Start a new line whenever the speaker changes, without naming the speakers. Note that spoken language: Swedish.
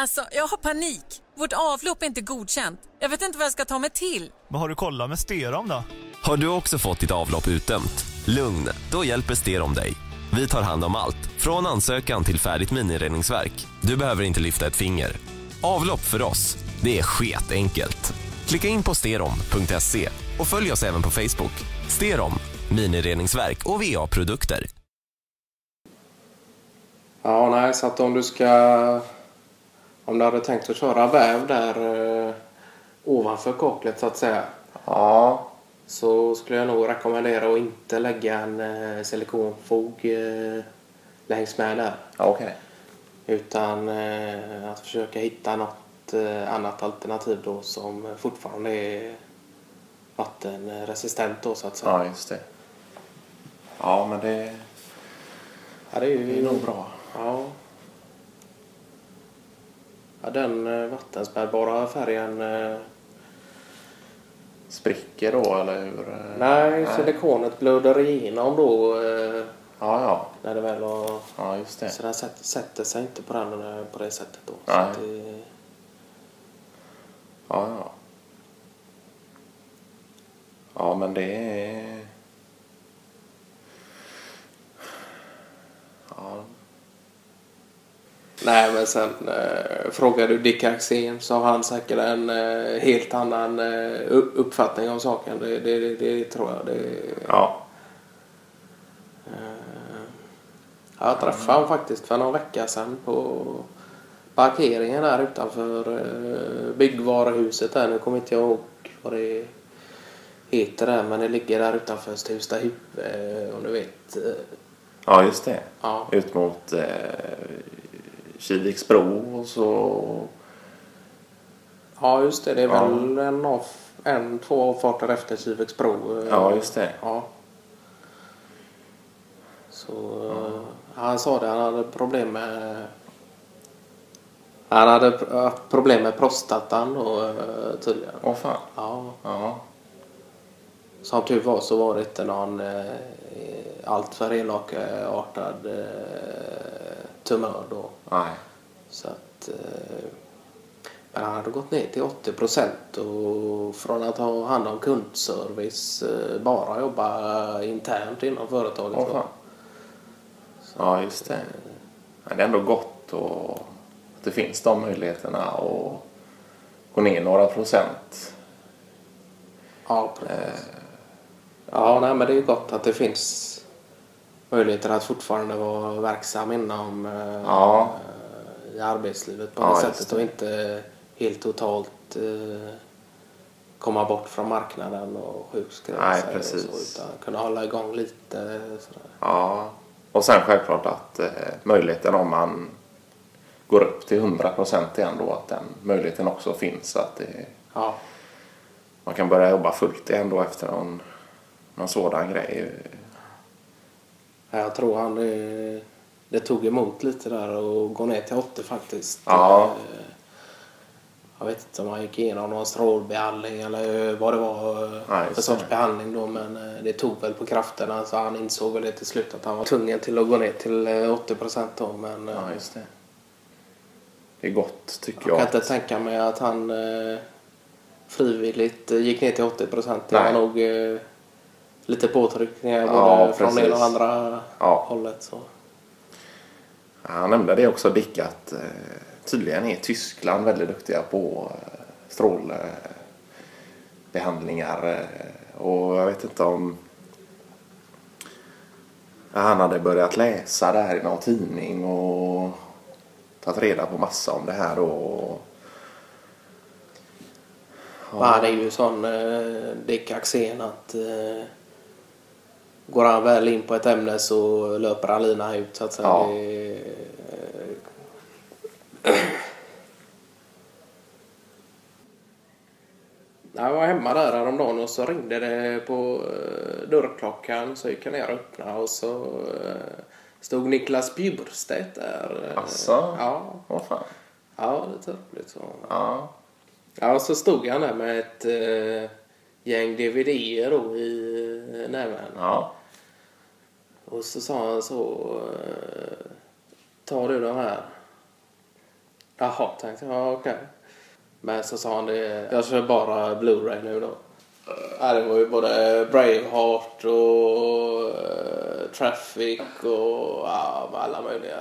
Alltså, jag har panik. Vårt avlopp är inte godkänt. Jag vet inte vad jag ska ta mig till.
Vad har du kollat med Sterom då?
Har du också fått ditt avlopp utdömt? Lugn, då hjälper Sterom dig. Vi tar hand om allt, från ansökan till färdigt minireningsverk. Du behöver inte lyfta ett finger. Avlopp för oss, det är skitenkelt. Klicka in på sterom.se och följ oss även på Facebook. Sterom, minireningsverk och VA-produkter.
Ja, nej, så att om du ska... Om du hade tänkt att köra väv där eh, ovanför kaklet så att säga.
Ja,
Så skulle jag nog rekommendera att inte lägga en eh, silikonfog eh, längs med där.
ja okej.
Utan eh, att försöka hitta något eh, annat alternativ då som fortfarande är vattenresistent då så att säga.
Ja, just det. Ja, men det,
Ja, det är ju
det är nog bra.
Ja. ja den eh, vattenspädbara färgen. Eh,
Spricker då, eller hur? Eh,
nej, silikonet blöder igenom då eh,
Ja, ja.
när det väl har...
Ja, just det.
Så den sätter, sätter sig inte på den eh, på det sättet då. Så
Nej.
att det,
Ja, ja. Ja, men det är... Ja,
nej, men sen eh, frågar du Dick Axén så har han säkert en eh, helt annan eh, upp- uppfattning om saken. Det, det, det, det tror jag. Det,
ja.
Ja, Jag träffade honom faktiskt för någon vecka sedan på parkeringen här utanför eh, byggvaruhuset där. Nu kommer inte jag ihåg vad det heter där men det ligger där utanför Stuvstahus eh, om du vet. eh,
ja just det.
Ja.
Ut mot eh, Kiviksbro och så...
Ja just det, det är
Ja.
väl en, av, en två avfarter efter Kiviksbro. eh,
Ja, just det.
Ja. Så eh, han sa det, han hade problem med han hade pr- haft problem med prostatan då eh, tydligen.
Åh fan.
Ja.
Ja.
Som tur var så var det inte någon eh, alltför elakartad eh, tumör då.
Nej.
Så att, eh, men han hade gått ner till 80 procent och från att ha hand om kundservice eh, bara jobba internt inom företaget.
Åh
då.
fan. Ja, just det. Ja, det är ändå gott och att det finns de möjligheterna att gå ner några procent.
Ja, precis. Ja, nej, men det är ju gott att det finns möjligheter att fortfarande vara verksam inom eh,
Ja.
i arbetslivet på
Ja,
det
just
sättet och inte helt totalt eh, komma bort från marknaden och sjukskriva
Nej,
sig och
precis.
så, utan kunna hålla igång lite. Sådär.
Ja, och sen självklart att eh, möjligheten om man går upp till 100% igen då att den möjligheten också finns att det,
Ja,
man kan börja jobba fullt igen då efter någon, någon sådan grej.
jag tror han det, det tog emot lite där och gå ner till 80 faktiskt.
Ja.
Eh, Jag vet inte om han gick igenom någon strålbehandling eller vad det var eh,
Nej,
för
just
sorts
det.
behandling då men eh, det tog väl på krafterna så han insåg väl det till slut att han var tvungen till att gå ner till eh, 80 procent då men eh,
Ja, just det. Det är gott tycker
Jag
jag.
kan inte tänka mig att han eh, frivilligt eh, gick ner till 80 procent. Det var
Nej.
nog eh, lite påtryckningar
Ja,
både från det ena och
precis.
andra
Ja.
hållet. Så.
Ja, Han nämnde det också Dick att eh, tydligen är Tyskland väldigt duktiga på eh, strålbehandlingar eh, och jag vet inte om Ja, han hade börjat läsa det här i någon tidning och tagit reda på massa om det här och
Men han är ju sån eh, Dick Axén att eh, går han väl in på ett ämne så löper han linan ut. Så att säga.
Ja.
Det, Jag var hemma där häromdagen och så ringde det på eh, dörrklockan så gick jag ner och öppnade och så eh, stod Niklas Bjurstedt där. eh,
Asså?
Ja,
vad fan.
ja lite roligt så.
Ja,
Ja, och så stod han där med ett eh, gäng DVD-er då i eh, näven.
ja,
Och så sa han så... Eh, tar du de här? Jaha, tänkte jag. Ja, okej. Men så sa han det. Jag kör bara Blu-ray nu då. Ja, det var ju både Braveheart och eh, Traffic och ja, alla möjliga